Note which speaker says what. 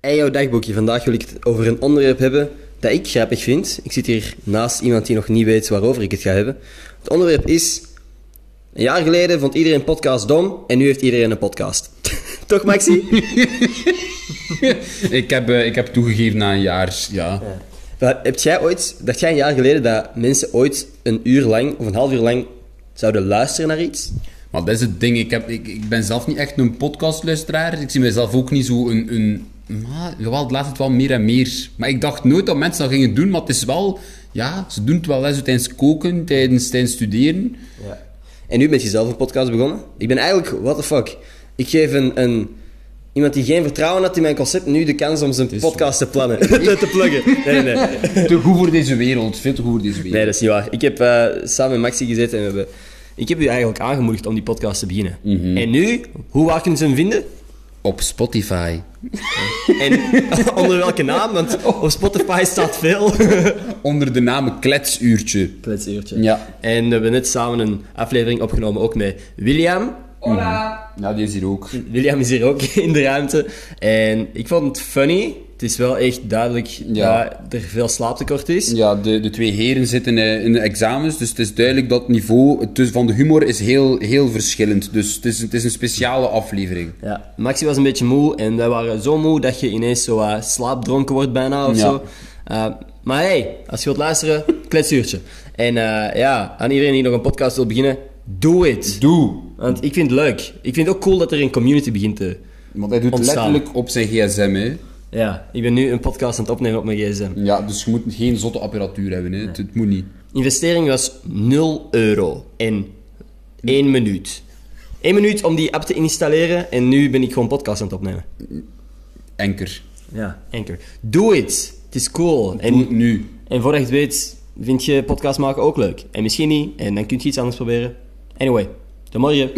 Speaker 1: Hey, jouw dagboekje. Vandaag wil ik het over een onderwerp hebben dat ik grappig vind. Ik zit hier naast iemand die nog niet weet waarover ik het ga hebben. Het onderwerp is... Een jaar geleden vond iedereen podcast dom en nu heeft iedereen een podcast. Toch, Maxi?
Speaker 2: Ik heb, eh, ik heb toegegeven na een jaar, ja.
Speaker 1: Maar Heb jij ooit... Dacht jij een jaar geleden dat mensen ooit een uur lang of een half uur lang zouden luisteren naar iets?
Speaker 2: Maar dat is het ding, ik, heb, ik, ik ben zelf niet echt een podcastluisteraar. Ik zie mezelf ook niet zo een... een maar, jawel, het laat het wel meer en meer. Maar ik dacht nooit dat mensen dat gingen doen, maar het is wel... Ja, ze doen het wel eens tijdens koken, tijdens, tijdens studeren.
Speaker 1: Ja. En nu ben je zelf een podcast begonnen. Ik ben eigenlijk, what the fuck. Ik geef een, een, iemand die geen vertrouwen had in mijn concept nu de kans om zijn podcast te plannen. te pluggen. Nee, nee.
Speaker 2: Te goed voor deze wereld, veel te goed voor deze wereld.
Speaker 1: Nee, dat is niet waar. Ik heb eh, samen met Maxi gezeten en we hebben... Ik heb u eigenlijk aangemoedigd om die podcast te beginnen.
Speaker 2: Mhm.
Speaker 1: En nu, hoe waar kunnen ze hem vinden?
Speaker 2: Op Spotify.
Speaker 1: En onder welke naam? Want op Spotify staat veel.
Speaker 2: Onder de naam Kletsuurtje.
Speaker 1: Kletsuurtje.
Speaker 2: Ja.
Speaker 1: En we hebben net samen een aflevering opgenomen, ook met William.
Speaker 2: Ja, die is hier ook.
Speaker 1: William is hier ook in de ruimte. En ik vond het funny. Het is wel echt duidelijk
Speaker 2: Ja.
Speaker 1: dat er veel slaaptekort is.
Speaker 2: Ja, de, de twee heren zitten eh, in de examens, dus het is duidelijk dat het niveau tussen- van de humor is heel, heel verschillend. Dus het is, het is een speciale aflevering.
Speaker 1: Ja, Maxi was een beetje moe en wij waren zo moe dat je ineens zo eh, slaapdronken wordt bijna of
Speaker 2: Ja.
Speaker 1: zo. Eh, maar hey, als je wilt luisteren, kletsuurtje. En eh, ja, aan iedereen die nog een podcast wil beginnen, doe it.
Speaker 2: Doe!
Speaker 1: Want ik vind het leuk. Ik vind het ook cool dat er een community begint te...
Speaker 2: Want hij doet
Speaker 1: Ontstaan.
Speaker 2: letterlijk op zijn gsm, hè.
Speaker 1: Ja, ik ben nu een podcast aan het opnemen op mijn gsm.
Speaker 2: Ja, dus je moet geen zotte apparatuur hebben, hè. Het, het moet niet.
Speaker 1: Investering was 0 euro en 1 minuut. 1 minuut om die app te installeren en nu ben ik gewoon podcast aan het opnemen.
Speaker 2: Enker.
Speaker 1: Ja. Anchor. Doe it. Het is cool.
Speaker 2: Doe het
Speaker 1: En,
Speaker 2: nu.
Speaker 1: en voordat je het weet, vind je podcast maken ook leuk. En misschien niet, en dan kun je iets anders proberen. Anyway, tot morgen.